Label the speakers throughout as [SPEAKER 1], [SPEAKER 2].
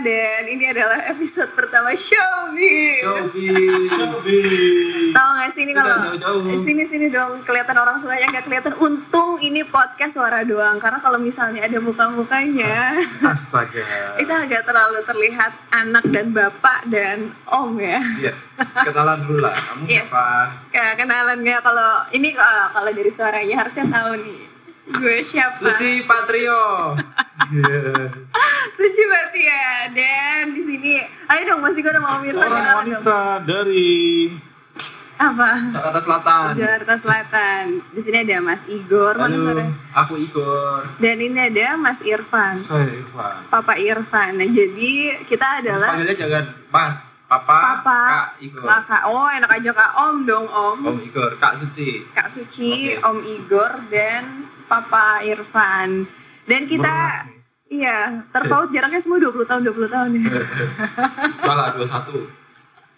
[SPEAKER 1] ini adalah episode pertama showbiz.
[SPEAKER 2] Showbiz. Showbiz.
[SPEAKER 1] Tahu nggak sih ini
[SPEAKER 2] Udah
[SPEAKER 1] kalau Eh,
[SPEAKER 2] jauh-jauh.
[SPEAKER 1] sini sini dong kelihatan orang tuanya nggak kelihatan. Untung ini podcast suara doang karena kalau misalnya ada muka-mukanya
[SPEAKER 2] Astaga.
[SPEAKER 1] itu agak terlalu terlihat anak dan bapak dan om ya.
[SPEAKER 2] Iya. Kenalan dulu lah. Kamu
[SPEAKER 1] Yes.
[SPEAKER 2] siapa?
[SPEAKER 1] Ya, kenalannya kalau ini eh, kalau dari suaranya harusnya tahu nih. Gue siapa?
[SPEAKER 2] Suci Patrio. Iya.
[SPEAKER 1] Suci Bartia dan di sini ayo dong Mas Diko sama Om Irfan
[SPEAKER 3] Seorang
[SPEAKER 1] kenalan dong.
[SPEAKER 3] wanita dari
[SPEAKER 1] Apa?
[SPEAKER 2] Jakarta Selatan.
[SPEAKER 1] Jakarta Selatan. Di sini ada Mas Igor, mana
[SPEAKER 2] Halo,
[SPEAKER 1] suara?
[SPEAKER 2] aku Igor.
[SPEAKER 1] Dan ini ada Mas Irfan,
[SPEAKER 3] saya Irfan.
[SPEAKER 1] Papa Irfan. Nah, jadi kita adalah
[SPEAKER 2] Panggilnya jangan Mas, Papa,
[SPEAKER 1] Papa.
[SPEAKER 2] Kak Igor.
[SPEAKER 1] Kakak. Oh, enak aja Kak Om dong, Om.
[SPEAKER 2] Om Igor, Kak Suci.
[SPEAKER 1] Kak Suci,
[SPEAKER 2] Oke.
[SPEAKER 1] Om Igor dan Papa Irfan. Dan kita iya, terpaut jaraknya semua 20 tahun, 20 tahun ya.
[SPEAKER 2] Enggak lah, 21.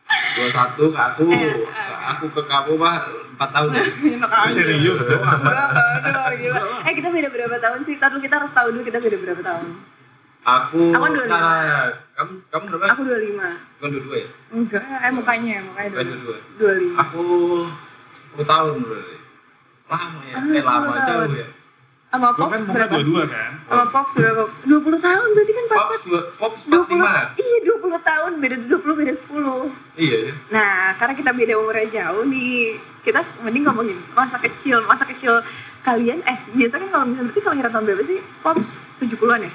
[SPEAKER 2] 21 ke aku,
[SPEAKER 1] Eh, eh.
[SPEAKER 2] Ke aku ke kamu mah 4 tahun. ya.
[SPEAKER 1] Enak aja.
[SPEAKER 3] Serius dong.
[SPEAKER 1] Gua bodoh, gila. Eh kita beda berapa tahun sih? Ntar dulu kita harus tahu dulu kita beda berapa tahun.
[SPEAKER 2] Aku,
[SPEAKER 1] Aku 25.
[SPEAKER 2] Nah, nah, nah. kamu kamu berapa?
[SPEAKER 1] Aku 25.
[SPEAKER 2] Bukan 22 ya?
[SPEAKER 1] Enggak, eh mukanya, mukanya
[SPEAKER 2] Bukan
[SPEAKER 1] 25.
[SPEAKER 2] 22.
[SPEAKER 1] 25.
[SPEAKER 2] Aku 10 tahun berarti. Lama ya,
[SPEAKER 1] Ah,
[SPEAKER 2] eh lama
[SPEAKER 1] 10 tahun.
[SPEAKER 2] jauh ya.
[SPEAKER 1] Sama
[SPEAKER 3] Lo kan
[SPEAKER 1] Pops
[SPEAKER 3] muka
[SPEAKER 1] berapa?
[SPEAKER 3] dua-dua kan?
[SPEAKER 1] Sama Pops berapa? Pops? 20 tahun berarti kan Papa
[SPEAKER 2] Pops, dua- Pops
[SPEAKER 1] 20.
[SPEAKER 2] 45.
[SPEAKER 1] Iya, 20 tahun beda 20 beda 10.
[SPEAKER 2] Iya ya.
[SPEAKER 1] Nah, karena kita beda umurnya jauh nih, kita mending ngomongin masa kecil, masa kecil kalian. Eh, biasa kan kalau misalnya berarti kelahiran tahun berapa sih? Pops 70-an ya?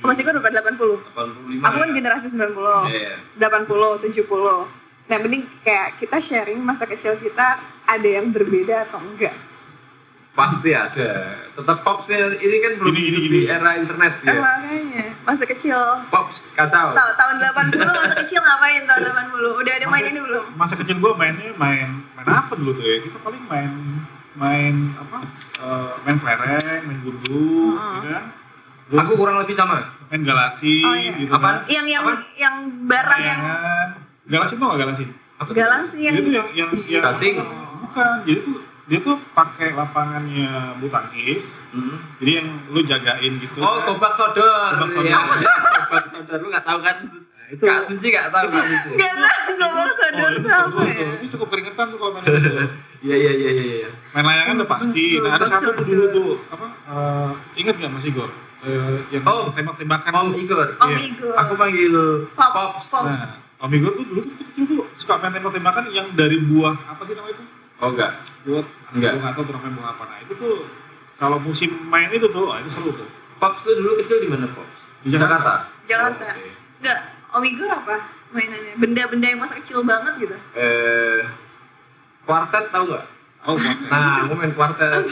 [SPEAKER 1] Masih kan udah 80.
[SPEAKER 2] 85.
[SPEAKER 1] Aku kan generasi 90,
[SPEAKER 2] ya. Iya.
[SPEAKER 1] 80, 70. Nah, mending kayak kita sharing masa kecil kita ada yang berbeda atau enggak.
[SPEAKER 2] Pasti ada. Tetap popsnya ini kan belum
[SPEAKER 3] Gini, gini,
[SPEAKER 2] hidup
[SPEAKER 3] gini.
[SPEAKER 2] di era internet ya.
[SPEAKER 1] Eh, makanya, masa kecil.
[SPEAKER 2] Pops kacau.
[SPEAKER 1] Tahu tahun 80 masa kecil ngapain tahun 80? Udah ada main
[SPEAKER 3] Masa-
[SPEAKER 1] ini belum?
[SPEAKER 3] Masa kecil gue mainnya main main apa dulu tuh ya? Kita paling main main apa? Eh, main kelereng, main gundu,
[SPEAKER 1] Heeh.
[SPEAKER 3] ya kan? Terus
[SPEAKER 2] Aku kurang lebih sama.
[SPEAKER 3] main galasi,
[SPEAKER 1] Oh, iya.
[SPEAKER 3] gitu
[SPEAKER 2] Apaan?
[SPEAKER 3] kan?
[SPEAKER 1] Yang yang
[SPEAKER 2] Apa?
[SPEAKER 1] yang barang yang
[SPEAKER 3] Layangan. Galasi tuh nggak galasi?
[SPEAKER 2] Apa tuh?
[SPEAKER 1] galang sih yang
[SPEAKER 3] Jadi tuh yang yang yang Oh,
[SPEAKER 2] Gasing.
[SPEAKER 3] bukan. Jadi tuh dia tuh pakai lapangannya bulu tangkis.
[SPEAKER 2] Hmm.
[SPEAKER 3] Jadi yang lu jagain gitu.
[SPEAKER 2] Oh,
[SPEAKER 3] kan?
[SPEAKER 2] gobak sodor.
[SPEAKER 3] Gobak sodor. Nah,
[SPEAKER 2] Iya. Gobak sodor lu enggak tahu kan?
[SPEAKER 3] Itu.
[SPEAKER 2] Kak Suci enggak tahu Kak Suci.
[SPEAKER 1] Gak tahu gak mau
[SPEAKER 3] Oh,
[SPEAKER 1] sodor
[SPEAKER 3] itu
[SPEAKER 1] sama
[SPEAKER 3] seru
[SPEAKER 1] ya.
[SPEAKER 3] tuh. Itu cukup keringetan tuh kalau main itu.
[SPEAKER 2] Iya, iya, iya, iya, iya.
[SPEAKER 3] main layangan udah pasti. Nah ada
[SPEAKER 1] Betul,
[SPEAKER 3] satu tuh
[SPEAKER 1] betul.
[SPEAKER 3] dulu tuh apa? eh, ingat nggak Mas Igor? Eh, yang
[SPEAKER 2] Oh.
[SPEAKER 3] tembak-tembakan.
[SPEAKER 2] Om Igor.
[SPEAKER 1] Om
[SPEAKER 3] Iya.
[SPEAKER 1] Igo.
[SPEAKER 2] Aku panggil
[SPEAKER 1] Pops.
[SPEAKER 2] Pops.
[SPEAKER 3] Nah,
[SPEAKER 1] Pops.
[SPEAKER 3] Om Igor tuh dulu tuh kecil tuh suka main tembak-tembakan yang dari buah apa sih namanya itu?
[SPEAKER 2] Oh enggak.
[SPEAKER 3] Buah
[SPEAKER 2] Enggak.
[SPEAKER 3] buah atau namanya buah apa? Nah itu tuh kalau musim main itu tuh, wah, itu seru tuh.
[SPEAKER 2] Pops tuh dulu kecil di mana Pops?
[SPEAKER 3] Di Jakarta.
[SPEAKER 1] Jakarta.
[SPEAKER 2] Oh, oke.
[SPEAKER 1] Enggak, Om Igor apa mainannya? Benda-benda yang masa kecil banget gitu.
[SPEAKER 2] Eh, kuartet tau nggak?
[SPEAKER 3] Oh, buat-
[SPEAKER 2] Nah, aku main kuartet.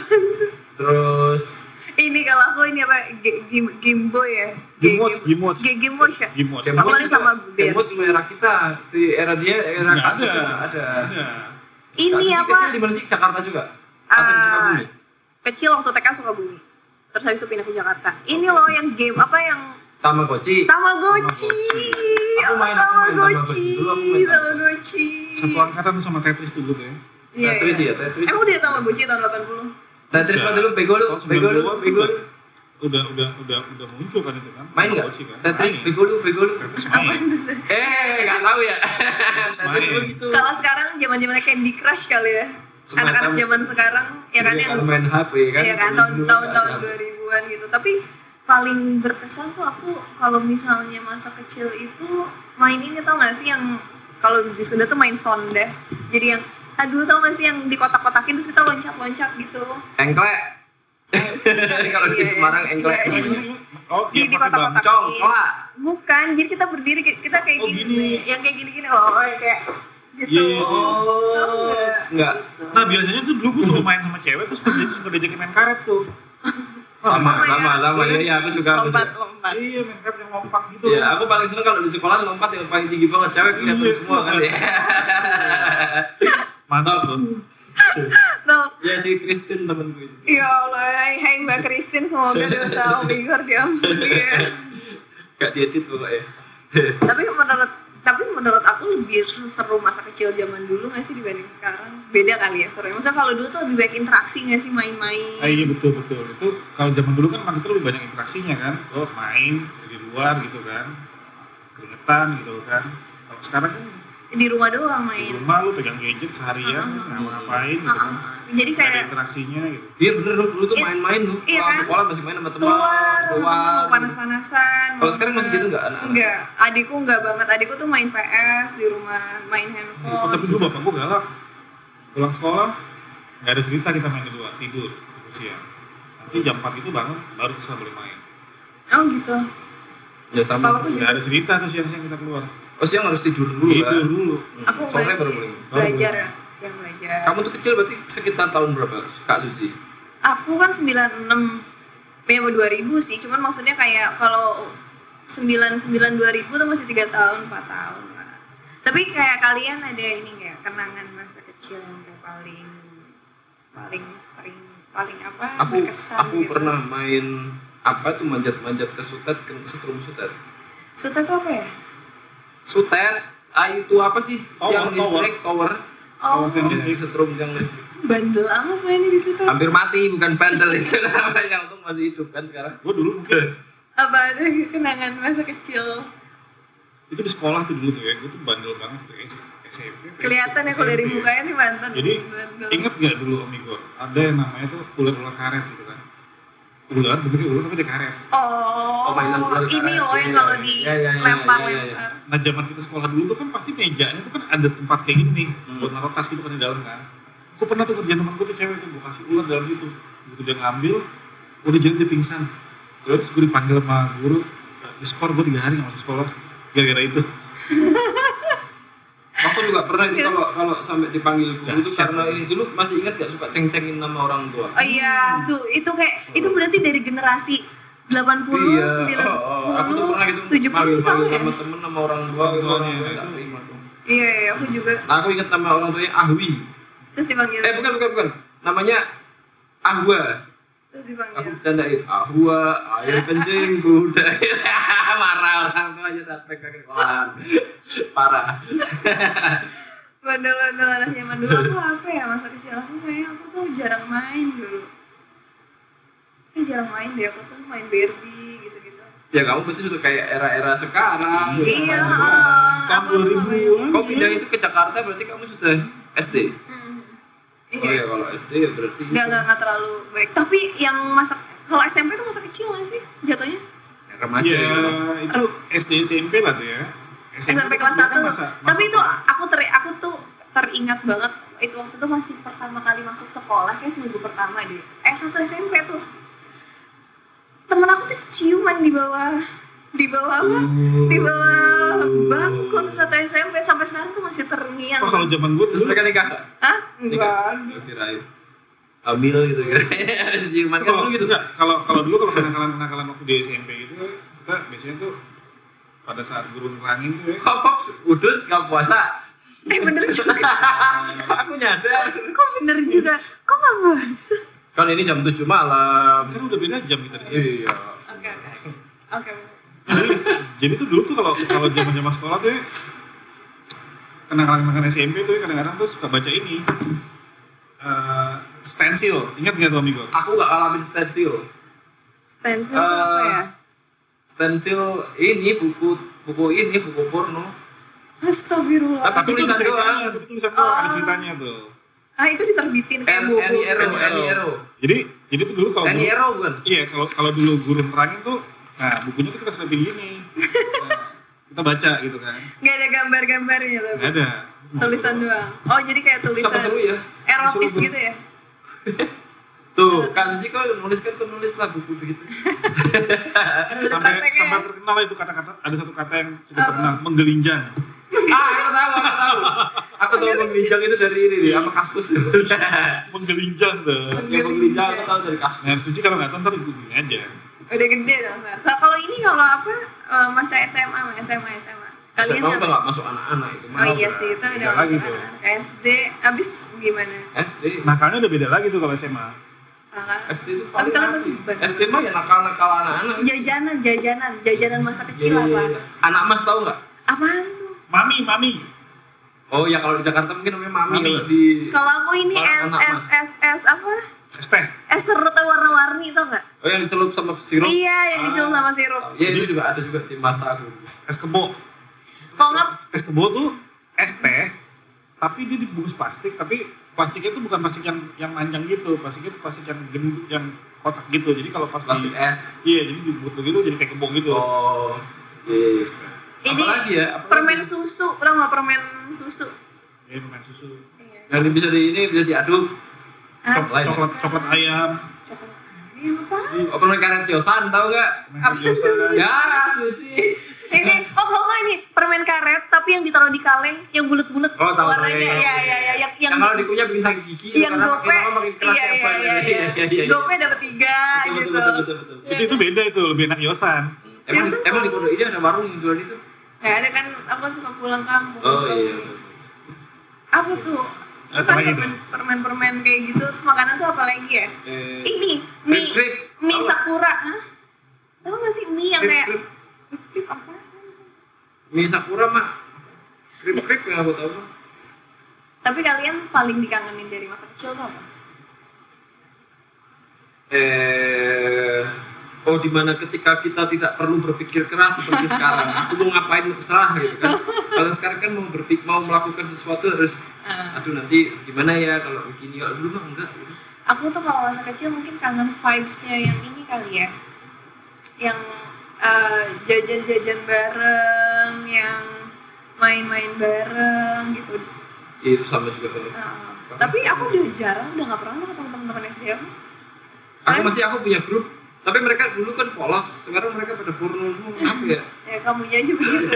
[SPEAKER 2] Terus
[SPEAKER 1] Ini kalau aku ini apa Ge- game, game boy ya?
[SPEAKER 3] Game Watch, Game Watch. Iya.
[SPEAKER 1] Ge- game watch ya?
[SPEAKER 3] Game Watch.
[SPEAKER 2] Game
[SPEAKER 1] Apa
[SPEAKER 2] Watch
[SPEAKER 1] nih
[SPEAKER 2] juga-
[SPEAKER 1] sama
[SPEAKER 2] Game
[SPEAKER 1] Ben?
[SPEAKER 2] Watch cuma era kita di era dia era
[SPEAKER 3] Nggak
[SPEAKER 2] kasus
[SPEAKER 3] ada.
[SPEAKER 2] juga nggak ada.
[SPEAKER 3] Iya.
[SPEAKER 1] Ini
[SPEAKER 2] Kasus
[SPEAKER 1] apa?
[SPEAKER 2] Kecil di mana sih Jakarta juga? Atau di
[SPEAKER 1] Ah,
[SPEAKER 2] Sukabumi?
[SPEAKER 1] kecil waktu TK Sukabumi. Terus habis itu pindah ke Jakarta. Ini loh yang game apa yang
[SPEAKER 2] Tamagotchi.
[SPEAKER 1] Tamagotchi.
[SPEAKER 2] Aku main, aku main Tamagotchi. Dulu aku main
[SPEAKER 1] Tamagotchi.
[SPEAKER 3] Satu angkatan tuh sama Tetris dulu tuh ya.
[SPEAKER 1] Iya.
[SPEAKER 2] Tetris
[SPEAKER 1] iya.
[SPEAKER 2] ya, Tetris.
[SPEAKER 1] Emang udah Tamagotchi tahun 80?
[SPEAKER 2] Tetris
[SPEAKER 3] Udah.
[SPEAKER 2] mah dulu bego lu,
[SPEAKER 3] Tahun
[SPEAKER 2] bego lu,
[SPEAKER 3] 92
[SPEAKER 2] bego
[SPEAKER 3] tuh
[SPEAKER 2] lu.
[SPEAKER 3] Udah udah udah udah muncul kan itu kan?
[SPEAKER 2] Main nggak?
[SPEAKER 3] Tamagotchi kan?
[SPEAKER 2] Tetris,
[SPEAKER 3] Main.
[SPEAKER 2] bego lu, bego lu.
[SPEAKER 3] Tetris main.
[SPEAKER 2] Eh, nggak tahu ya. Tetris
[SPEAKER 3] main.
[SPEAKER 2] lu gitu.
[SPEAKER 1] Kalau sekarang zaman zamannya Candy Crush kali ya.
[SPEAKER 2] Semacam-
[SPEAKER 1] Anak-anak zaman sekarang ya kan
[SPEAKER 2] Iya
[SPEAKER 1] yang
[SPEAKER 2] main HP kan.
[SPEAKER 1] ya
[SPEAKER 2] Iya.
[SPEAKER 1] kan
[SPEAKER 2] Dulu
[SPEAKER 1] tahun
[SPEAKER 2] nggak
[SPEAKER 1] tahun tahun
[SPEAKER 2] ada.
[SPEAKER 1] 2000-an gitu. Tapi paling berkesan tuh aku kalau misalnya masa kecil itu main ini tau gak sih yang kalau di Sunda tuh main sonda. Jadi yang aduh tau gak sih yang di kotak-kotakin terus kita loncat-loncat gitu.
[SPEAKER 2] Engklek. Kalau di
[SPEAKER 1] Iya,
[SPEAKER 2] Semarang engklek.
[SPEAKER 1] iya, iya.
[SPEAKER 3] Oh,
[SPEAKER 1] Di-
[SPEAKER 3] iya
[SPEAKER 1] di
[SPEAKER 3] pakai
[SPEAKER 1] kotak-kotak.
[SPEAKER 3] bambu.
[SPEAKER 2] Congklak.
[SPEAKER 1] Bukan, jadi kita berdiri kita kayak
[SPEAKER 3] Oh,
[SPEAKER 1] gini,
[SPEAKER 3] gini.
[SPEAKER 1] yang kayak gini-gini loh, oh, yang kayak gitu.
[SPEAKER 3] Iya, iya, iya.
[SPEAKER 1] Tahu nggak?
[SPEAKER 2] Enggak.
[SPEAKER 3] Nah biasanya tuh dulu gue suka main sama cewek terus suka, suka diajakin main karet tuh.
[SPEAKER 1] Sama
[SPEAKER 2] Lama,
[SPEAKER 1] ya.
[SPEAKER 2] lama, lama. Iya, iya, aku juga. aku juga.
[SPEAKER 1] Lompat-lompat.
[SPEAKER 3] Iya main karet yang lompat gitu.
[SPEAKER 2] Iya, aku paling seneng kalau di sekolah lompat yang paling tinggi banget cewek kelihatan
[SPEAKER 3] Iya,
[SPEAKER 2] semua kan ya.
[SPEAKER 3] Mantap tuh.
[SPEAKER 1] Tuh,
[SPEAKER 2] Ya si Kristin temen gue itu.
[SPEAKER 1] Ya Allah, hai Mbak Christine, semoga dosa Om Igor diampuni ya.
[SPEAKER 2] Gak diedit ya. pokoknya.
[SPEAKER 1] Tapi menurut tapi menurut aku lebih seru masa kecil zaman dulu nggak sih dibanding sekarang beda kali ya seru maksudnya kalau dulu tuh lebih banyak interaksi nggak sih main-main
[SPEAKER 3] Ah, iya betul betul itu kalau zaman dulu kan marketer lebih banyak interaksinya kan lo main di luar gitu kan keringetan gitu kan kalau sekarang kan
[SPEAKER 1] di rumah doang
[SPEAKER 3] di
[SPEAKER 1] main
[SPEAKER 3] rumah lo pegang gadget seharian
[SPEAKER 1] Ah,
[SPEAKER 3] nggak mau ngapain gitu kan
[SPEAKER 1] Ah, ah. jadi
[SPEAKER 3] Nggak ada
[SPEAKER 1] kayak
[SPEAKER 3] interaksinya gitu
[SPEAKER 2] Iya bener lu, lu tuh
[SPEAKER 1] Iya.
[SPEAKER 2] main-main lu.
[SPEAKER 1] Iya,
[SPEAKER 2] Pulang
[SPEAKER 1] kan?
[SPEAKER 2] sekolah masih main sama teman.
[SPEAKER 1] keluar, mau
[SPEAKER 2] Keluar.
[SPEAKER 1] panas-panasan
[SPEAKER 2] Kalau sekarang
[SPEAKER 1] mau
[SPEAKER 2] masih
[SPEAKER 1] ke-
[SPEAKER 2] gitu nggak anak-anak?
[SPEAKER 1] enggak adikku enggak banget adikku tuh main PS di rumah main
[SPEAKER 3] oh, tapi
[SPEAKER 1] handphone
[SPEAKER 3] dulu bapak gua galak pulang sekolah nggak ada cerita kita main di luar tidur tidur siang nanti jam 4 itu bangun baru bisa boleh main
[SPEAKER 1] oh gitu
[SPEAKER 2] Ya sama.
[SPEAKER 1] Bapak
[SPEAKER 3] nggak ada cerita tuh siang-siang kita keluar
[SPEAKER 2] Oh siang harus tidur dulu
[SPEAKER 3] tidur
[SPEAKER 2] kan?
[SPEAKER 3] dulu
[SPEAKER 2] Hmm,
[SPEAKER 1] aku
[SPEAKER 2] Sore
[SPEAKER 1] enggak
[SPEAKER 2] baru
[SPEAKER 1] sih
[SPEAKER 2] boleh.
[SPEAKER 1] belajar ya siang belajar
[SPEAKER 2] Kamu tuh kecil berarti sekitar tahun berapa Kak Suci?
[SPEAKER 1] aku kan 96 ya 2000 sih cuman maksudnya kayak kalau 99 2000 tuh masih 3 tahun 4 tahun lah tapi kayak kalian ada ini nggak kenangan masa kecil yang kayak paling paling paling paling apa
[SPEAKER 2] Aku
[SPEAKER 1] berkesan
[SPEAKER 2] aku
[SPEAKER 1] gitu?
[SPEAKER 2] pernah main apa tuh manjat-manjat ke sutet ke setrum sutet.
[SPEAKER 1] Suta tuh apa ya?
[SPEAKER 2] Sutet, ah itu apa sih?
[SPEAKER 3] Tower,
[SPEAKER 2] yang
[SPEAKER 3] tower. Iya.
[SPEAKER 2] listrik tower.
[SPEAKER 1] Oh,
[SPEAKER 3] Kalau yang
[SPEAKER 2] Yang
[SPEAKER 3] listrik.
[SPEAKER 2] setrum yang listrik.
[SPEAKER 1] bandel amat mainnya di situ.
[SPEAKER 2] Hampir mati bukan bandel itu apa yang untung masih hidup kan sekarang.
[SPEAKER 3] gua dulu mungkin
[SPEAKER 1] Apa ada kenangan masa kecil?
[SPEAKER 3] itu di sekolah tuh dulu tuh ya gue tuh bandel banget tuh S- SMP
[SPEAKER 1] Kelihatan ya kalau dari
[SPEAKER 3] SMP.
[SPEAKER 1] mukanya sih mantan.
[SPEAKER 3] Jadi,
[SPEAKER 1] bandel.
[SPEAKER 3] Ingat nggak dulu Om Igor? Ada yang namanya tuh ular-ular karet gitu kan. Ular, bentuknya ular tapi dia karet.
[SPEAKER 1] Oh,
[SPEAKER 2] Permainan bola
[SPEAKER 1] ini
[SPEAKER 2] karet.
[SPEAKER 1] loh yang
[SPEAKER 2] Iya,
[SPEAKER 1] kalau
[SPEAKER 2] iya, iya, iya, iya, iya, iya.
[SPEAKER 1] dilempar-lempar.
[SPEAKER 3] Nah zaman kita sekolah dulu tuh kan pasti mejanya tuh kan ada tempat kayak gini nih,
[SPEAKER 2] Hmm.
[SPEAKER 3] buat naruh tas gitu kan di dalam kan. Gue pernah tuh kerjaan temen gue tuh cewek tuh, gue kasih ular dalam situ. Begitu dia ngambil, udah jadi dia pingsan. Ya Terus gue dipanggil sama guru, di skor gue tiga hari nggak masuk sekolah. Gara-gara itu,
[SPEAKER 2] Aku juga pernah itu kalau kalau sampai dipanggil guru tuh
[SPEAKER 3] Dahsyat.
[SPEAKER 2] karena ini dulu masih ingat gak suka ceng-cengin nama orang tua.
[SPEAKER 1] Oh iya, su itu kayak itu berarti dari generasi 80,
[SPEAKER 2] Iya,
[SPEAKER 1] 90,
[SPEAKER 2] oh, oh. aku tuh pernah gitu
[SPEAKER 1] 70 sama
[SPEAKER 2] panggil
[SPEAKER 1] ya.
[SPEAKER 2] sama temen sama orang tua,
[SPEAKER 3] Orang
[SPEAKER 2] gitu, orang
[SPEAKER 3] tuanya, ya.
[SPEAKER 2] tua
[SPEAKER 3] itu.
[SPEAKER 2] nggak terima tuh.
[SPEAKER 1] Iya, iya, aku juga
[SPEAKER 2] Nah, aku ingat nama orang tuanya Ahwi.
[SPEAKER 1] terus dipanggil.
[SPEAKER 2] Eh bukan bukan bukan, namanya Ahwa.
[SPEAKER 1] Terus
[SPEAKER 2] Aku gitu. Ah,
[SPEAKER 1] dipanggil.
[SPEAKER 2] bercandain Ahwa, air ya, kencing udah marah orang tuanya datang ke sekolah. Parah.
[SPEAKER 1] Bandel-bandel anak zaman dulu aku apa ya masa kecil aku kayaknya aku tuh jarang main dulu. Kayak jarang main deh aku tuh main Barbie gitu-gitu.
[SPEAKER 2] Ya kamu berarti sudah kayak era-era sekarang. gitu,
[SPEAKER 1] Iya.
[SPEAKER 2] main bola.
[SPEAKER 3] tahun
[SPEAKER 1] aku tuh
[SPEAKER 3] dua
[SPEAKER 1] nggak banyak.
[SPEAKER 3] ribuan.
[SPEAKER 2] Kau pindah itu ke Jakarta berarti kamu sudah SD.
[SPEAKER 1] Hmm.
[SPEAKER 2] Oh
[SPEAKER 1] Iya.
[SPEAKER 2] ya kalau SD ya berarti.
[SPEAKER 1] Nggak, nggak, nggak terlalu baik. Tapi yang masa kalau SMP tuh masa kecil nggak sih jatuhnya?
[SPEAKER 2] Remaja
[SPEAKER 3] Ya,
[SPEAKER 1] Iya.
[SPEAKER 2] ya.
[SPEAKER 3] itu SD SMP lah tuh ya.
[SPEAKER 1] SMP
[SPEAKER 3] tuh
[SPEAKER 1] Eh, kelas 1.
[SPEAKER 3] kan masa-
[SPEAKER 1] Tapi
[SPEAKER 3] masa-
[SPEAKER 1] itu aku ter aku tuh teringat banget itu waktu itu masih pertama kali masuk sekolah kayak seminggu pertama deh. Eh satu SMP tuh. Temen aku tuh ciuman di bawah di bawah apa?
[SPEAKER 3] Hmm.
[SPEAKER 1] Di bawah bangku tuh satu SMP sampai sekarang tuh masih terngiang.
[SPEAKER 3] Oh, kalau zaman gue
[SPEAKER 2] Terus
[SPEAKER 3] dulu
[SPEAKER 2] mereka nikah.
[SPEAKER 1] Hah?
[SPEAKER 2] Nikah.
[SPEAKER 1] Enggak.
[SPEAKER 2] Gua kirain. Hamil gitu kan. Terus Ciuman
[SPEAKER 1] Oh.
[SPEAKER 2] kan
[SPEAKER 3] kalau
[SPEAKER 2] dulu gitu.
[SPEAKER 3] enggak, kalau kalau dulu kalau kenakalan kenakalan waktu di SMP gitu kita biasanya tuh pada saat guru nerangin tuh ya
[SPEAKER 2] Kok pops udut nggak puasa.
[SPEAKER 1] Eh bener juga. Oh.
[SPEAKER 2] Aku nyadar.
[SPEAKER 1] Kok bener juga? Kok nggak puasa?
[SPEAKER 2] Kan ini jam 7 malam.
[SPEAKER 3] kan udah beda jam kita di sini
[SPEAKER 2] Iya.
[SPEAKER 1] Oke oke. Oke.
[SPEAKER 3] jadi tuh dulu tuh kalau kalau zaman zaman sekolah tuh ya, kenakalan kenakalan SMP tuh ya, kadang-kadang tuh suka baca ini Eh, stensil ingat nggak tuh amigo
[SPEAKER 2] Aku nggak ngalamin stensil.
[SPEAKER 1] Stensil tuh apa
[SPEAKER 2] Eh,
[SPEAKER 1] ya?
[SPEAKER 2] Stensil ini buku buku ini buku porno.
[SPEAKER 3] Eh.
[SPEAKER 1] Astagfirullah.
[SPEAKER 2] Tapi
[SPEAKER 3] tuh
[SPEAKER 2] tulisan
[SPEAKER 3] ceritanya,
[SPEAKER 2] doang.
[SPEAKER 3] tapi tulisan doang ada
[SPEAKER 1] Ah.
[SPEAKER 3] ceritanya tuh
[SPEAKER 1] Ah itu diterbitin kayak
[SPEAKER 2] N
[SPEAKER 1] buku.
[SPEAKER 2] N Ero N Ero.
[SPEAKER 3] jadi jadi tuh dulu kalau
[SPEAKER 2] N
[SPEAKER 3] guru-
[SPEAKER 2] Ero bukan.
[SPEAKER 3] Iya, kalau kalau dulu guru nerangin tuh, nah bukunya tuh kita selipin gini. Nah, kita baca gitu kan.
[SPEAKER 1] Gak ada gambar-gambarnya tapi
[SPEAKER 3] Nggak ada.
[SPEAKER 1] tulisan doang. Oh jadi kayak
[SPEAKER 2] Apa
[SPEAKER 1] tulisan
[SPEAKER 2] seru ya?
[SPEAKER 1] erotis
[SPEAKER 3] Seru, Bu.
[SPEAKER 1] gitu ya?
[SPEAKER 2] Tuh, Kak Suci kau nulis kan tuh nulis lah buku begitu.
[SPEAKER 1] Ada
[SPEAKER 2] Eh,
[SPEAKER 3] Sampai
[SPEAKER 1] prakteknya
[SPEAKER 3] sampai
[SPEAKER 1] ya?
[SPEAKER 3] terkenal itu kata-kata ada satu kata yang cukup
[SPEAKER 1] Apa?
[SPEAKER 3] terkenal, menggelinjang.
[SPEAKER 2] ah, aku tahu, aku tahu. Aku tahu pembincang itu dari ini nih, apa kaskus itu. Yang
[SPEAKER 3] Menggelinjang tuh.
[SPEAKER 2] pembincang aku tahu dari kaskus.
[SPEAKER 3] Nah, Suci kalau nggak tahu ntar googling aja.
[SPEAKER 1] Udah gede dong. Sar. Nah, kalau ini kalau apa eh, masa SMA, SMA, SMA. Kalian
[SPEAKER 2] Saya
[SPEAKER 1] apa?
[SPEAKER 2] nggak masuk anak-anak itu ya.
[SPEAKER 1] Oh
[SPEAKER 2] malah
[SPEAKER 1] iya sih itu
[SPEAKER 3] Beda
[SPEAKER 1] udah
[SPEAKER 3] lagi
[SPEAKER 2] gitu.
[SPEAKER 1] masa
[SPEAKER 3] tuh.
[SPEAKER 1] SD. Abis gimana?
[SPEAKER 2] SD.
[SPEAKER 3] Nakalnya udah beda lagi tuh kalau SMA.
[SPEAKER 1] Kakak-
[SPEAKER 2] SD itu
[SPEAKER 1] Tapi
[SPEAKER 2] paling
[SPEAKER 1] kalian
[SPEAKER 2] nanti.
[SPEAKER 1] masih bandel.
[SPEAKER 2] SD mah ya nakal-nakal anak-anak.
[SPEAKER 1] Jajanan, jajanan, jajanan masa
[SPEAKER 2] Iya,
[SPEAKER 1] Iya, kecil
[SPEAKER 2] iya,
[SPEAKER 1] apa?
[SPEAKER 2] iya. Anak mas tahu nggak?
[SPEAKER 1] Apaan tuh?
[SPEAKER 4] mami mami
[SPEAKER 2] Oh ya kalau di Jakarta mungkin namanya mami,
[SPEAKER 4] Mami.
[SPEAKER 2] kalau di
[SPEAKER 1] Kalau aku ini
[SPEAKER 2] Warna
[SPEAKER 1] S
[SPEAKER 2] anak,
[SPEAKER 1] S S S apa?
[SPEAKER 4] es teh
[SPEAKER 1] Es serutnya warna-warni tau nggak?
[SPEAKER 2] Oh yang dicelup sama sirup.
[SPEAKER 1] Iya, yang dijual sama sirup.
[SPEAKER 2] Oh, Iya itu juga ada juga di masa aku.
[SPEAKER 4] es kebo
[SPEAKER 1] Kalau nggak,
[SPEAKER 4] es kebo tuh
[SPEAKER 3] es teh tapi dia dibungkus plastik tapi plastiknya itu bukan plastik yang yang panjang gitu plastiknya itu plastik yang gem- yang kotak gitu jadi kalau pas di-
[SPEAKER 2] Plastik es.
[SPEAKER 3] iya jadi dibutuh gitu jadi kayak kebong gitu
[SPEAKER 2] Oh. Iya, iya.
[SPEAKER 1] ini
[SPEAKER 2] Apalagi ya? Apalagi?
[SPEAKER 1] permen susu, tau nggak permen susu?
[SPEAKER 3] ya permen susu
[SPEAKER 1] Iya.
[SPEAKER 2] Yang bisa di ini bisa diaduk.
[SPEAKER 1] Hah?
[SPEAKER 3] Cok-
[SPEAKER 2] Lain.
[SPEAKER 3] coklat coklat ayam
[SPEAKER 1] Coklat. Ini apa?
[SPEAKER 2] Oh, permen karet yosan tau gak?
[SPEAKER 3] permen
[SPEAKER 1] Apa?
[SPEAKER 3] gyoza
[SPEAKER 2] Ya, suci.
[SPEAKER 1] Ini, oh kalau nggak ini permen karet tapi yang ditaruh di kaleng, yang bulat-bulat
[SPEAKER 2] Oh, tahu
[SPEAKER 1] warnanya,
[SPEAKER 2] tahu, tahu.
[SPEAKER 1] ya ya ya, yang yang
[SPEAKER 2] iya. Yang kalau dikunyah bikin sakit gigi.
[SPEAKER 1] yang
[SPEAKER 2] karena makin
[SPEAKER 1] gope,
[SPEAKER 2] lama makin keras
[SPEAKER 1] iya
[SPEAKER 2] ya,
[SPEAKER 1] iya
[SPEAKER 2] Pak.
[SPEAKER 1] iya, iya, gope dapat tiga
[SPEAKER 2] Betul,
[SPEAKER 1] gitu.
[SPEAKER 2] betul, betul, betul, betul.
[SPEAKER 1] Iya.
[SPEAKER 3] itu itu beda itu lebih enak yosan
[SPEAKER 2] Emang,
[SPEAKER 1] Yosan
[SPEAKER 2] emang di
[SPEAKER 1] tahu.
[SPEAKER 2] Pondok Indah ada warung yang jual itu?
[SPEAKER 1] Nah, ada kan aku suka pulang kampung.
[SPEAKER 2] Oh
[SPEAKER 1] suka
[SPEAKER 2] iya.
[SPEAKER 1] beli. Apa tuh?
[SPEAKER 3] Apa
[SPEAKER 1] Apa
[SPEAKER 3] lagi tuh?
[SPEAKER 1] permen, permen-permen kayak gitu, terus makanan tuh apa lagi ya?
[SPEAKER 2] Eh,
[SPEAKER 1] Ini, mie,
[SPEAKER 2] Krip, krip.
[SPEAKER 1] mie
[SPEAKER 2] Apa?
[SPEAKER 1] sakura. Hah? Tahu gak sih mie yang
[SPEAKER 2] krip,
[SPEAKER 1] kayak
[SPEAKER 2] krip.
[SPEAKER 1] krip apa?
[SPEAKER 2] Mie Sakura mah. Krip krip yang aku tahu. mah.
[SPEAKER 1] Tapi kalian paling dikangenin dari masa kecil tuh apa?
[SPEAKER 2] Eh, oh dimana ketika kita tidak perlu berpikir keras seperti sekarang. Aku mau ngapain terserah gitu kan. Kalau sekarang kan mau berpik mau melakukan sesuatu harus aduh nanti gimana ya kalau begini kalau dulu mah enggak gitu.
[SPEAKER 1] aku tuh kalau masa kecil mungkin kangen vibes-nya yang ini kali ya yang eh, jajan-jajan bareng yang main-main bareng gitu
[SPEAKER 2] Iya, itu sama juga kalau
[SPEAKER 1] Nah, tapi aku udah jarang udah nggak pernah ketemu teman-teman SD aku
[SPEAKER 2] aku masih aku punya grup tapi mereka dulu kan polos sekarang mereka pada porno semua kenapa ya
[SPEAKER 1] ya kamunya aja begitu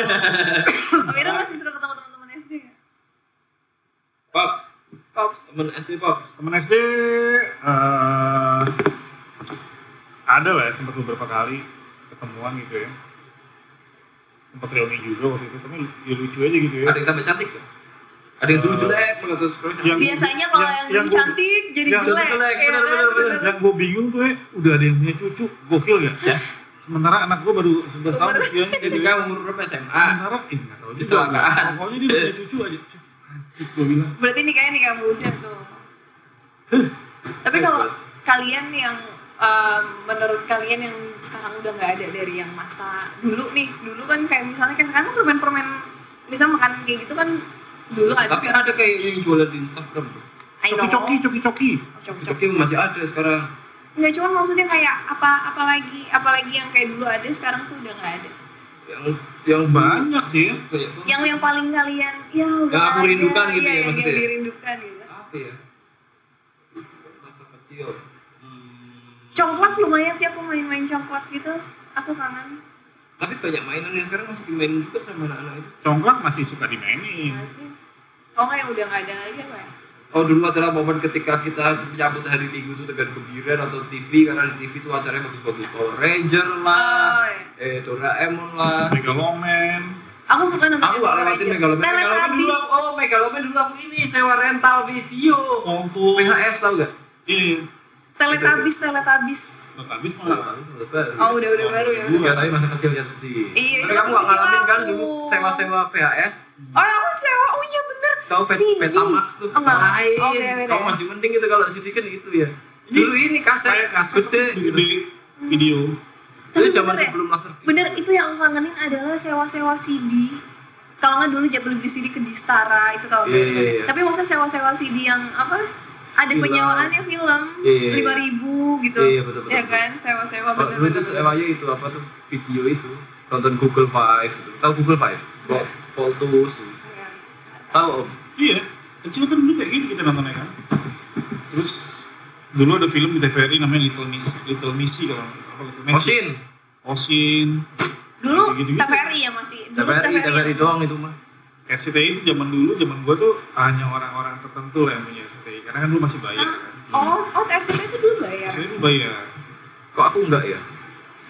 [SPEAKER 1] Amira masih suka ketemu teman-teman SD ya?
[SPEAKER 2] pops
[SPEAKER 1] Pops
[SPEAKER 2] temen SD pops
[SPEAKER 3] temen SD eh, ada lah ya, sempat beberapa kali ketemuan gitu ya sempat reuni juga waktu itu tapi ya lucu aja gitu ya
[SPEAKER 2] ada yang tambah cantik ya ada yang dulu
[SPEAKER 3] Eh,
[SPEAKER 2] jelek banget terus sekarang cantik.
[SPEAKER 3] yang-
[SPEAKER 1] biasanya kalau yang,
[SPEAKER 3] yang-
[SPEAKER 1] dulu
[SPEAKER 3] yang-
[SPEAKER 1] cantik jadi
[SPEAKER 3] yang dulu
[SPEAKER 1] jelek,
[SPEAKER 2] jelek,
[SPEAKER 1] ya kan?
[SPEAKER 2] bener, bener,
[SPEAKER 3] yang gue bingung tuh ya, udah ada yang punya cucu gokil gak?
[SPEAKER 2] Ya.
[SPEAKER 3] sementara anak gue baru 11 tahun
[SPEAKER 1] Umur-
[SPEAKER 3] usianya gitu
[SPEAKER 2] ketika
[SPEAKER 3] ya.
[SPEAKER 2] umur berapa SMA
[SPEAKER 3] sementara eh gak tau juga
[SPEAKER 2] Kecelakaan.
[SPEAKER 3] pokoknya dia udah punya cucu aja gue bilang
[SPEAKER 1] Berarti nikahnya nikah muda tuh. Tapi kalau kalian yang um, menurut kalian yang sekarang udah nggak ada dari yang masa dulu nih, dulu kan kayak misalnya kayak sekarang permen-permen bisa makan kayak gitu kan dulu ada.
[SPEAKER 2] tapi ada kayak yang jualan di Instagram tuh.
[SPEAKER 1] I know.
[SPEAKER 3] coki coki coki
[SPEAKER 1] Cok-cok.
[SPEAKER 2] tapi masih ada sekarang
[SPEAKER 1] Nggak cuma maksudnya kayak apa apalagi apalagi yang kayak dulu ada sekarang tuh udah nggak ada.
[SPEAKER 2] yang yang
[SPEAKER 3] coki banyak sih ya.
[SPEAKER 2] kayak tuh,
[SPEAKER 1] Yang yang paling kalian ya udah.
[SPEAKER 2] Yang aku
[SPEAKER 1] nggak ada.
[SPEAKER 2] rindukan gitu
[SPEAKER 1] Iya,
[SPEAKER 2] ya,
[SPEAKER 1] yang, yang
[SPEAKER 2] maksudnya ya?
[SPEAKER 1] dirindukan gitu.
[SPEAKER 2] apa ya masa kecil Hmm,
[SPEAKER 1] Congklak lumayan sih aku main-main congklak gitu. Aku kangen.
[SPEAKER 2] tapi banyak mainan yang sekarang masih dimainin juga sama anak-anak itu
[SPEAKER 3] congklak masih suka dimainin
[SPEAKER 1] Masih. Oh nggak yang udah nggak ada lagi apa ya?
[SPEAKER 2] Oh dulu adalah momen ketika kita menyambut hari Minggu itu dengan gembira atau TV karena di TV itu acaranya bagus-bagus Power Ranger lah,
[SPEAKER 1] Oh, iya.
[SPEAKER 2] eh Doraemon lah.
[SPEAKER 3] megaloman
[SPEAKER 1] Aku suka namanya
[SPEAKER 2] Aku gak lewatin Megaloman. Megaloman dulu
[SPEAKER 1] Teletubbies.
[SPEAKER 2] aku, oh Megaloman dulu aku ini sewa rental video.
[SPEAKER 3] voltus
[SPEAKER 2] VHS tau gak?
[SPEAKER 3] iya
[SPEAKER 1] Teletubbies, Teletubbies.
[SPEAKER 3] Nggak habis
[SPEAKER 2] Hmm. Nah,
[SPEAKER 3] malah
[SPEAKER 1] Oh udah udah baru ya. udah.
[SPEAKER 2] Iya, tapi masa kecilnya sih.
[SPEAKER 1] Iya, itu
[SPEAKER 2] Tapi kamu
[SPEAKER 1] masa
[SPEAKER 2] gak ngalamin
[SPEAKER 1] kecil
[SPEAKER 2] kan
[SPEAKER 1] aku.
[SPEAKER 2] dulu sewa-sewa VHS,
[SPEAKER 1] Oh aku sewa. Oh iya bener.
[SPEAKER 2] tau Pet
[SPEAKER 1] CD.
[SPEAKER 2] Betamax tuh
[SPEAKER 1] Oh, nggak.
[SPEAKER 2] lain.
[SPEAKER 1] Oh, beda, beda.
[SPEAKER 2] Kamu masih mending gitu kalau CD kan gitu ya. Dulu ini kaset,
[SPEAKER 3] kayak kaset
[SPEAKER 2] gede,
[SPEAKER 3] tapi gede video
[SPEAKER 1] Tapi
[SPEAKER 2] Itu zaman
[SPEAKER 1] bener ya?
[SPEAKER 2] sebelum laser disc.
[SPEAKER 1] Bener itu yang aku kangenin adalah sewa-sewa CD. Kalau nggak dulu jadi beli CD ke Distara itu tau nggak?
[SPEAKER 2] Iya, iya, iya.
[SPEAKER 1] Tapi maksudnya sewa-sewa CD yang apa? Ada
[SPEAKER 2] Film.
[SPEAKER 1] penyewaannya film
[SPEAKER 2] Iya, iya, iya.
[SPEAKER 1] lima ribu gitu.
[SPEAKER 2] Iya, iya, betul, betul,
[SPEAKER 1] Ya
[SPEAKER 2] betul.
[SPEAKER 1] kan sewa-sewa
[SPEAKER 2] Kalau dulu itu
[SPEAKER 1] bener-bener.
[SPEAKER 2] sewanya itu apa tuh video itu nonton Google Five gitu. Tahu Google Five? Vol- Voltus.
[SPEAKER 1] Iya.
[SPEAKER 2] Tahu Om?
[SPEAKER 3] Iya, kecil kan dulu kayak gini kita nontonnya kan. Terus dulu ada film di TVRI namanya Little Miss, Little Missy kalau apa Little Missy.
[SPEAKER 2] Mesin.
[SPEAKER 3] Osin.
[SPEAKER 1] Dulu
[SPEAKER 3] Gitu-gitu.
[SPEAKER 1] TVRI ya masih. Dulu
[SPEAKER 2] TVRI,
[SPEAKER 1] ya?
[SPEAKER 2] TVRI doang itu mah.
[SPEAKER 3] SCTI itu zaman dulu, zaman gua tuh hanya orang-orang tertentu lah yang punya SCTI karena kan dulu masih bayar
[SPEAKER 1] Ah,
[SPEAKER 3] kan.
[SPEAKER 1] Oh, oh TFCP itu ya? dulu bayar.
[SPEAKER 3] SCTI dulu bayar.
[SPEAKER 2] Kok aku enggak ya?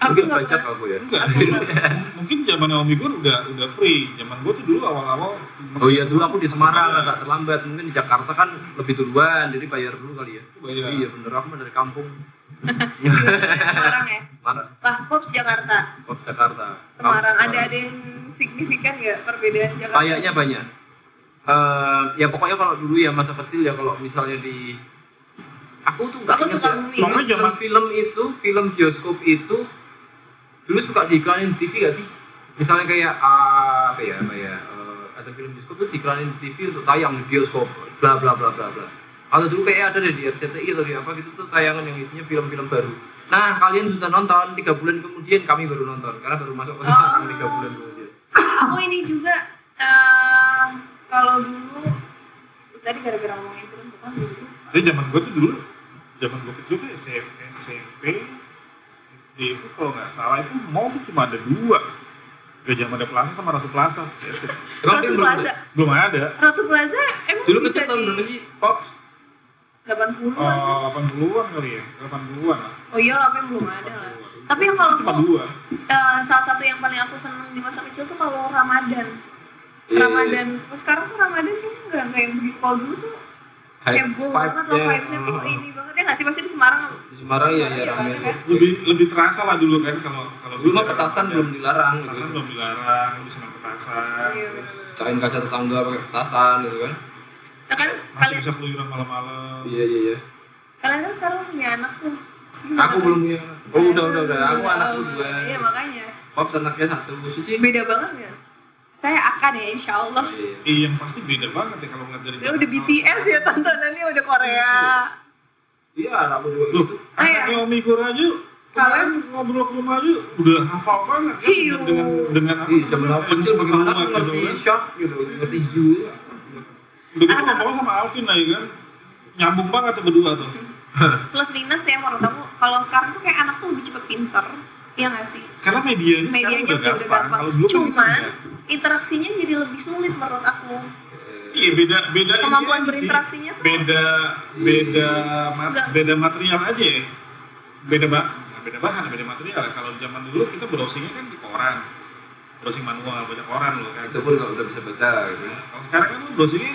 [SPEAKER 1] Aku
[SPEAKER 2] Mungkin
[SPEAKER 1] nggak
[SPEAKER 2] bajak
[SPEAKER 1] pernah.
[SPEAKER 2] aku ya.
[SPEAKER 3] Enggak, dulu, mungkin zaman Naomi gua udah udah free. Zaman gua tuh dulu awal-awal
[SPEAKER 2] Oh iya dulu aku di
[SPEAKER 3] masih
[SPEAKER 2] Semarang
[SPEAKER 3] bayar.
[SPEAKER 2] agak terlambat. Mungkin di Jakarta kan lebih duluan jadi bayar dulu kali ya.
[SPEAKER 3] Bayar.
[SPEAKER 2] Iya bener aku mah dari kampung
[SPEAKER 1] Semarang ya.
[SPEAKER 2] Semarang,
[SPEAKER 1] Lah, Pops Jakarta,
[SPEAKER 2] Kota Jakarta.
[SPEAKER 1] Semarang. Ada ada yang signifikan nggak perbedaan Jakarta?
[SPEAKER 2] Kayaknya banyak. Eh, ya pokoknya kalau dulu ya masa kecil ya kalau misalnya di aku tuh nggak
[SPEAKER 1] Aku
[SPEAKER 2] ingat
[SPEAKER 1] suka
[SPEAKER 2] ya.
[SPEAKER 1] bumi.
[SPEAKER 2] Pokoknya
[SPEAKER 3] Iya.
[SPEAKER 2] zaman film itu, film bioskop itu dulu suka diiklanin di TV gak sih? Misalnya kayak ah, apa ya, apa ya, eh, ada film bioskop itu diiklanin di TV untuk tayang di bioskop, bla bla bla bla bla. Atau dulu kayak ada deh di RCTI atau di apa gitu tuh tayangan yang isinya film-film baru. Nah kalian sudah nonton tiga bulan kemudian kami baru nonton karena baru masuk ke sana
[SPEAKER 1] Oh.
[SPEAKER 2] tiga bulan kemudian.
[SPEAKER 1] Oh ini juga eh, kalau dulu tadi gara-gara ngomongin film bukan dulu.
[SPEAKER 3] Jadi zaman gue tuh dulu, zaman gue kecil tuh SMP, SMP, SD itu kalau nggak salah itu mall tuh cuma ada dua. Gajah Mada Plaza sama Ratu Plaza. That's it.
[SPEAKER 2] Emang
[SPEAKER 1] Ratu
[SPEAKER 2] film belum
[SPEAKER 1] Plaza.
[SPEAKER 2] ada?
[SPEAKER 3] Belum ada.
[SPEAKER 1] Ratu Plaza emang
[SPEAKER 2] Dulu
[SPEAKER 1] bisa
[SPEAKER 2] kecil tahun berapa
[SPEAKER 1] di
[SPEAKER 2] sih? Pop
[SPEAKER 1] 80 an
[SPEAKER 3] Oh, 80-an kali ya, 80-an lah.
[SPEAKER 1] Oh iya lah, apa yang belum ada lah. Tapi yang kalau
[SPEAKER 3] Itu cuma
[SPEAKER 1] aku,
[SPEAKER 3] dua.
[SPEAKER 1] eh, salah satu yang paling aku seneng di masa kecil tuh kalau Ramadan.
[SPEAKER 2] Iya.
[SPEAKER 1] Ramadan, oh, sekarang tuh Ramadan tuh nggak nggak yang begitu. Kalau dulu tuh
[SPEAKER 2] Hype-
[SPEAKER 1] heboh banget loh
[SPEAKER 3] ya.
[SPEAKER 2] vibe-nya.
[SPEAKER 1] vibes-nya tuh
[SPEAKER 3] Hmm.
[SPEAKER 1] ini banget. Ya nggak sih pasti di Semarang
[SPEAKER 2] Di Semarang ya, ya
[SPEAKER 1] Iya,
[SPEAKER 2] rame.
[SPEAKER 1] kan?
[SPEAKER 3] Lebih lebih terasa lah dulu kan kalau kalau
[SPEAKER 2] Dulu mah
[SPEAKER 3] bicara
[SPEAKER 2] petasan
[SPEAKER 3] Ramadan.
[SPEAKER 2] belum dilarang
[SPEAKER 3] petasan
[SPEAKER 2] gitu.
[SPEAKER 3] belum dilarang, lu bisa main petasan.
[SPEAKER 1] Iya,
[SPEAKER 3] terus
[SPEAKER 1] bener-bener.
[SPEAKER 2] Cain kaca tetangga pakai petasan gitu kan.
[SPEAKER 1] Ya kan
[SPEAKER 3] masih
[SPEAKER 1] kalian
[SPEAKER 3] bisa keluyuran malam-malam.
[SPEAKER 2] Iya iya iya.
[SPEAKER 1] kalian kan sekarang punya anak tuh. Terus gimana
[SPEAKER 2] Aku
[SPEAKER 1] tuh?
[SPEAKER 2] belum punya. anak. Oh udah udah udah. Aku
[SPEAKER 1] Udah,
[SPEAKER 2] anak
[SPEAKER 1] oh,
[SPEAKER 2] dua.
[SPEAKER 1] Iya makanya.
[SPEAKER 2] Pop anaknya satu. Suci.
[SPEAKER 1] Beda banget ya. Saya akan ya insya Allah.
[SPEAKER 2] Iya.
[SPEAKER 3] Iya, yang pasti beda banget ya kalau ngeliat dari
[SPEAKER 1] Ya udah BTS ya tontonannya udah Korea.
[SPEAKER 2] Iya anakku juga
[SPEAKER 3] Loh,
[SPEAKER 2] gitu.
[SPEAKER 1] Ah,
[SPEAKER 3] anak
[SPEAKER 1] iya.
[SPEAKER 3] yang mikir aja kemarin ngobrol ke rumah aja udah hafal banget kan
[SPEAKER 1] Hiu.
[SPEAKER 3] dengan dengan, dengan apa
[SPEAKER 2] Ih, zaman aku kecil bagaimana aku
[SPEAKER 3] pengetahuan gitu
[SPEAKER 2] ngerti
[SPEAKER 3] kan.
[SPEAKER 2] shock gitu, ngerti you.
[SPEAKER 3] Udah gitu ngomong sama Alvin lah ya kan. Nyambung banget tuh berdua tuh.
[SPEAKER 1] Plus minus ya menurut aku. Kalau sekarang tuh kayak anak tuh lebih cepet pinter. Iya nggak sih?
[SPEAKER 3] Karena medianya,
[SPEAKER 1] Medianya
[SPEAKER 3] sekarang
[SPEAKER 1] udah,
[SPEAKER 3] udah
[SPEAKER 1] udah
[SPEAKER 3] gampang.
[SPEAKER 1] gampang.
[SPEAKER 3] Kalau dulu kan
[SPEAKER 1] Cuman
[SPEAKER 3] enggak.
[SPEAKER 1] interaksinya jadi lebih sulit menurut aku.
[SPEAKER 3] iya beda beda ini
[SPEAKER 1] Kemampuan
[SPEAKER 3] aja sih.
[SPEAKER 1] berinteraksinya tuh
[SPEAKER 3] Beda beda mat-
[SPEAKER 1] Enggak.
[SPEAKER 3] beda material aja ya. Beda bah beda bahan, beda material. Kalau zaman dulu kita browsingnya kan di koran. Browsing manual, banyak koran loh kan.
[SPEAKER 2] Nah, Itu pun nggak udah bisa baca gitu.
[SPEAKER 3] Nah, Kalau sekarang kan lu browsingnya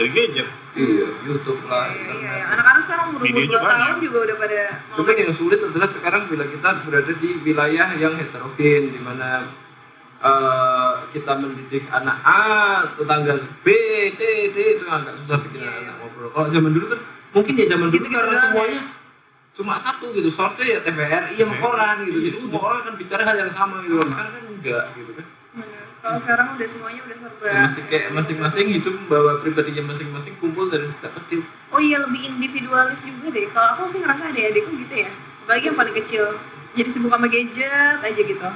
[SPEAKER 3] dari gadget.
[SPEAKER 2] Iya, YouTube
[SPEAKER 3] Ah,
[SPEAKER 2] lah,
[SPEAKER 1] Iya, iya, iya.
[SPEAKER 2] internet.
[SPEAKER 1] Anak-anak sekarang umur
[SPEAKER 3] Media
[SPEAKER 1] 22
[SPEAKER 3] juga
[SPEAKER 1] tahun
[SPEAKER 3] banyak.
[SPEAKER 1] juga udah pada
[SPEAKER 2] Mungkin yang sulit adalah sekarang bila kita berada di wilayah yang heterogen, di mana eh, kita mendidik anak A, tetangga B, C, D itu agak susah bikin
[SPEAKER 1] Iya,
[SPEAKER 2] anak ngobrol. Kalau zaman dulu kan mungkin ya zaman dulu
[SPEAKER 1] Gitu-gitu
[SPEAKER 2] karena
[SPEAKER 1] doang, ya.
[SPEAKER 2] semuanya cuma satu gitu, source-nya ya TVRI yang
[SPEAKER 3] Iya.
[SPEAKER 2] koran gitu, jadi
[SPEAKER 3] Iya.
[SPEAKER 2] semua orang akan bicara hal yang sama gitu. Kalau Sekarang kan enggak gitu kan.
[SPEAKER 1] Bener. Kalau sekarang udah semuanya udah serba.
[SPEAKER 2] Masing kayak masing-masing hidup membawa pribadinya masing-masing kumpul dari sejak kecil.
[SPEAKER 1] Oh iya lebih individualis juga deh. Kalau aku sih ngerasa adik-adikku gitu ya. Apalagi yang paling kecil. Jadi sibuk sama gadget aja gitu.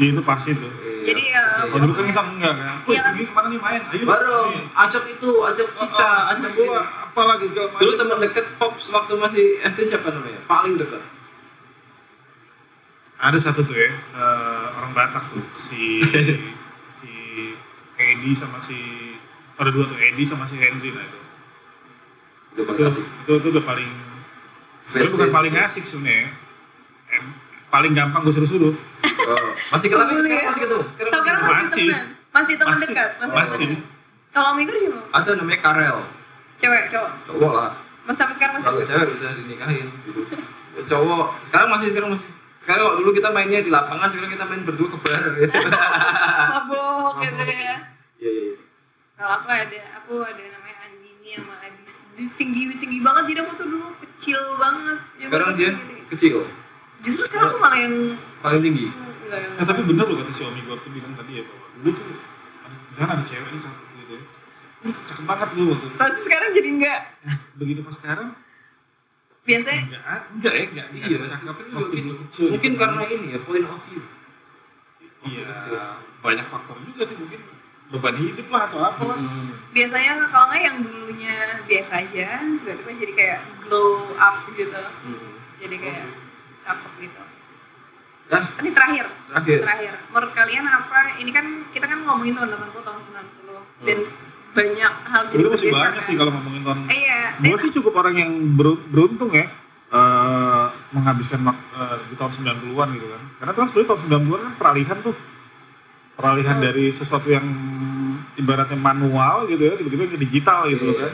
[SPEAKER 3] Iya itu pasti tuh.
[SPEAKER 2] Iya.
[SPEAKER 1] Jadi ya,
[SPEAKER 3] Kalau dulu kan kita enggak kan. Wih,
[SPEAKER 1] Iya kan?
[SPEAKER 3] pergi kemana nih main? Ayo.
[SPEAKER 2] Baru,
[SPEAKER 3] Ayo.
[SPEAKER 2] ajak itu, ajak Cica,
[SPEAKER 1] Ah,
[SPEAKER 3] Oh,
[SPEAKER 2] ajak
[SPEAKER 3] gua
[SPEAKER 2] ini.
[SPEAKER 3] apalagi gak gitu, main.
[SPEAKER 2] Dulu teman dekat Pop waktu masih SD siapa namanya? Paling dekat.
[SPEAKER 3] ada satu tuh ya eh, orang Batak tuh si si Edi sama si ada dua tuh Edi sama si Henry lah itu.
[SPEAKER 2] Itu
[SPEAKER 3] Itu itu, itu udah paling sebenarnya
[SPEAKER 2] ya?
[SPEAKER 3] bukan paling asik sebenarnya. Em, paling gampang gue suruh-suruh.
[SPEAKER 2] Oh, Masih ketemu
[SPEAKER 1] Pembuli
[SPEAKER 2] sekarang
[SPEAKER 1] ya.
[SPEAKER 2] masih ketemu. Sekarang
[SPEAKER 1] Kalau
[SPEAKER 2] masih
[SPEAKER 1] sekarang
[SPEAKER 2] ketemu.
[SPEAKER 1] masih
[SPEAKER 3] Masih.
[SPEAKER 1] temenan. Masih teman
[SPEAKER 3] Masih.
[SPEAKER 1] dekat. Masih. teman
[SPEAKER 3] Masih.
[SPEAKER 1] dekat. Kalau minggu siapa?
[SPEAKER 2] Ada namanya Karel.
[SPEAKER 1] Cewek, cowok.
[SPEAKER 2] Cowok lah.
[SPEAKER 1] Mas sampai sekarang masih.
[SPEAKER 2] Kalau cewek udah dinikahin. Gitu. Ya, Cowok. Sekarang masih sekarang masih. Sekarang kalau dulu kita mainnya di lapangan, sekarang kita main berdua ke bar. gitu.
[SPEAKER 1] Mabok gitu ya.
[SPEAKER 2] Iya iya. iya.
[SPEAKER 1] Kalau aku ada, aku ada namanya Andini sama Adis. Tinggi tinggi banget. Jadi aku tuh dulu kecil banget. Jadi
[SPEAKER 2] Sekarang
[SPEAKER 1] aku
[SPEAKER 2] dia
[SPEAKER 1] gini.
[SPEAKER 2] kecil,
[SPEAKER 1] Justru sekarang aku malah yang
[SPEAKER 2] paling tinggi.
[SPEAKER 1] enggak yang.
[SPEAKER 3] Nah, tapi bener loh kata si Omi gue tuh bilang tadi ya bahwa dulu tuh ada dan ada cewek ini cakep gitu ya. Ini cakep banget dulu waktu itu.
[SPEAKER 1] Pasti sekarang jadi enggak.
[SPEAKER 3] Nah, begitu pas sekarang
[SPEAKER 1] Biasanya
[SPEAKER 3] enggak enggak ya enggak enggak
[SPEAKER 2] Iya,
[SPEAKER 3] secakep
[SPEAKER 2] mungkin-
[SPEAKER 3] waktu dulu kecil.
[SPEAKER 2] Mungkin
[SPEAKER 3] gitu.
[SPEAKER 2] karena ini ya point of view.
[SPEAKER 3] Iya, banyak faktor juga sih mungkin beban hidup lah atau apalah.
[SPEAKER 2] Hmm.
[SPEAKER 1] biasanya kalau nggak yang dulunya biasa aja tiba-tiba jadi kayak glow up gitu
[SPEAKER 2] Hmm.
[SPEAKER 1] jadi kayak
[SPEAKER 3] Oh.
[SPEAKER 1] cakep gitu
[SPEAKER 2] Nah,
[SPEAKER 1] ini terakhir
[SPEAKER 3] Iya.
[SPEAKER 2] terakhir.
[SPEAKER 1] terakhir menurut kalian apa ini kan kita kan ngomongin tahun 80 tahun 90 dan banyak hal
[SPEAKER 3] Hmm. Sebenarnya masih
[SPEAKER 1] bergeser,
[SPEAKER 3] banyak
[SPEAKER 1] kan?
[SPEAKER 3] sih kalau ngomongin tahun.
[SPEAKER 1] Eh, iya
[SPEAKER 3] Gue sih cukup orang yang beru- beruntung ya eh, menghabiskan wak- eh, di tahun 90-an gitu kan. Karena terus dulu tahun 90-an kan peralihan tuh. Peralihan
[SPEAKER 1] Hmm.
[SPEAKER 3] dari sesuatu yang ibaratnya manual gitu ya, tiba-tiba ke digital gitu loh
[SPEAKER 2] Iya.
[SPEAKER 3] kan.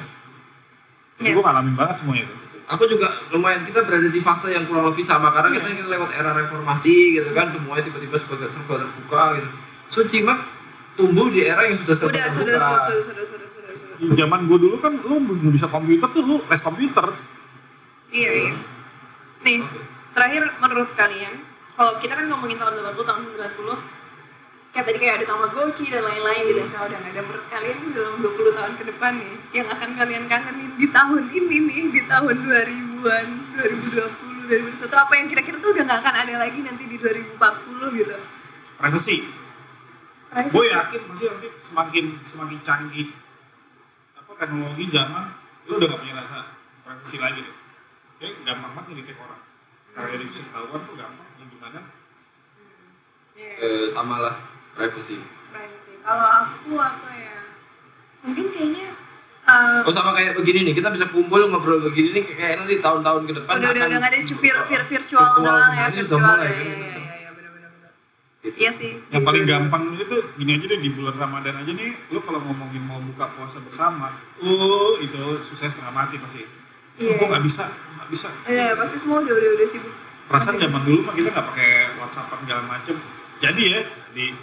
[SPEAKER 3] Itu
[SPEAKER 1] Yes.
[SPEAKER 3] gue ngalamin banget semuanya itu.
[SPEAKER 2] aku juga lumayan kita berada di fase yang kurang lebih sama karena kita lewat era reformasi gitu kan semuanya tiba-tiba sebagai serba terbuka gitu so Jimat tumbuh di era yang sudah serba
[SPEAKER 1] Udah, sudah,
[SPEAKER 2] terbuka.
[SPEAKER 1] sudah, sudah, sudah, sudah, sudah, sudah.
[SPEAKER 3] Di zaman gue dulu kan lu belum bisa komputer tuh lu les komputer.
[SPEAKER 1] Iya, iya. Nih, terakhir menurut kalian, kalau kita kan ngomongin tahun 80, tahun 90, kayak tadi kayak ada Tamagotchi dan lain-lain gitu, saya udah nggak ada. Menurut kalian tuh dalam 20 tahun ke depan nih, yang akan kalian kangenin di tahun ini nih, di tahun 2000-an, 2020, 2021, apa yang kira-kira tuh udah nggak akan ada lagi nanti di 2040 gitu.
[SPEAKER 3] Privacy.
[SPEAKER 1] Terakhir,
[SPEAKER 3] Gue yakin pasti nanti semakin semakin canggih apa teknologi zaman lu udah gak punya rasa privacy lagi deh. Kayak gampang banget ngeditek orang. Sekarang dari bisa ketahuan tuh gampang. Yang gimana?
[SPEAKER 1] Iya.
[SPEAKER 2] Eh, sama lah privacy.
[SPEAKER 1] privacy. Kalau aku apa ya? Mungkin kayaknya uh,
[SPEAKER 2] Oh sama kayak begini nih, kita bisa kumpul ngobrol begini nih kayaknya di tahun-tahun ke depan
[SPEAKER 1] udah udah
[SPEAKER 2] akan
[SPEAKER 1] udah nggak ada
[SPEAKER 2] virtual-
[SPEAKER 1] vir, vir, virtual doang ya,
[SPEAKER 2] semuanya sudah
[SPEAKER 1] virtual.
[SPEAKER 2] mulai
[SPEAKER 1] Iya
[SPEAKER 2] kan. Gitu.
[SPEAKER 1] iya iya iya benar benar benar. Iya sih.
[SPEAKER 3] Yang paling gampang itu gini aja deh di bulan Ramadan aja nih lu kalau ngomongin mau buka puasa bersama, uh itu susah setengah mati pasti.
[SPEAKER 1] Iya.
[SPEAKER 3] Gue nggak bisa, nggak bisa.
[SPEAKER 1] Iya pasti semua udah udah udah sibuk.
[SPEAKER 3] Perasaan zaman dulu mah kita nggak pakai WhatsApp segala macem. Jadi ya di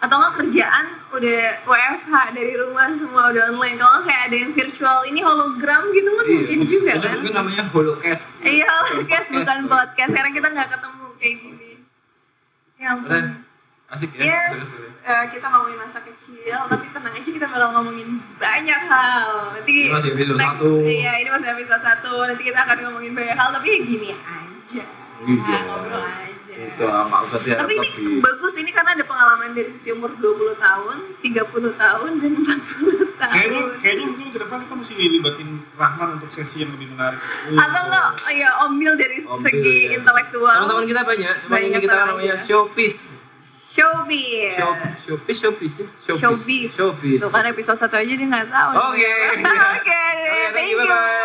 [SPEAKER 1] Atau nggak kerjaan udah WFH dari rumah semua udah online. Kalau nggak kayak ada yang virtual ini hologram gitu kan
[SPEAKER 2] Iya.
[SPEAKER 1] mungkin juga
[SPEAKER 2] Terus
[SPEAKER 1] kan?
[SPEAKER 2] Mungkin namanya holocast.
[SPEAKER 1] Iya podcast bukan
[SPEAKER 2] Podcast.
[SPEAKER 1] podcast. Sekarang kita nggak ketemu kayak gini. Ya
[SPEAKER 2] Keren.
[SPEAKER 1] ampun.
[SPEAKER 2] Asik ya.
[SPEAKER 1] Yes, eh, kita ngomongin masa kecil, tapi tenang aja kita bakal ngomongin banyak hal. Nanti
[SPEAKER 2] Ini masih episode
[SPEAKER 1] next-
[SPEAKER 2] satu.
[SPEAKER 1] Iya, ini masih episode satu. Nanti kita akan ngomongin banyak hal, tapi ya gini aja. Nah,
[SPEAKER 2] Gitu.
[SPEAKER 1] Ngobrol aja.
[SPEAKER 2] Itu sama Ustaz ya.
[SPEAKER 1] Tapi ini bagus ini karena ada pengalaman dari sisi umur 20 tahun, 30 tahun, dan 40 tahun.
[SPEAKER 3] kayaknya kayaknya mungkin ke depan kita mesti libatin Rahman untuk sesi yang lebih menarik. Uh,
[SPEAKER 1] Atau enggak, ya ombil dari
[SPEAKER 2] Ombil,
[SPEAKER 1] segi
[SPEAKER 2] ya.
[SPEAKER 1] intelektual.
[SPEAKER 2] Teman-teman kita banyak, cuma
[SPEAKER 1] Banyak ya.
[SPEAKER 2] ini kita
[SPEAKER 1] teman
[SPEAKER 2] namanya
[SPEAKER 1] aja.
[SPEAKER 2] showpiece.
[SPEAKER 1] Showbiz.
[SPEAKER 2] Show, showpiece, showpiece, sih. showpiece.
[SPEAKER 1] Showbiz.
[SPEAKER 2] Showpiece.
[SPEAKER 1] Tuh kan episode satu aja dia nggak tahu.
[SPEAKER 2] Oke.
[SPEAKER 1] Oke,
[SPEAKER 2] Oke,
[SPEAKER 1] thank you.
[SPEAKER 2] Bye-bye.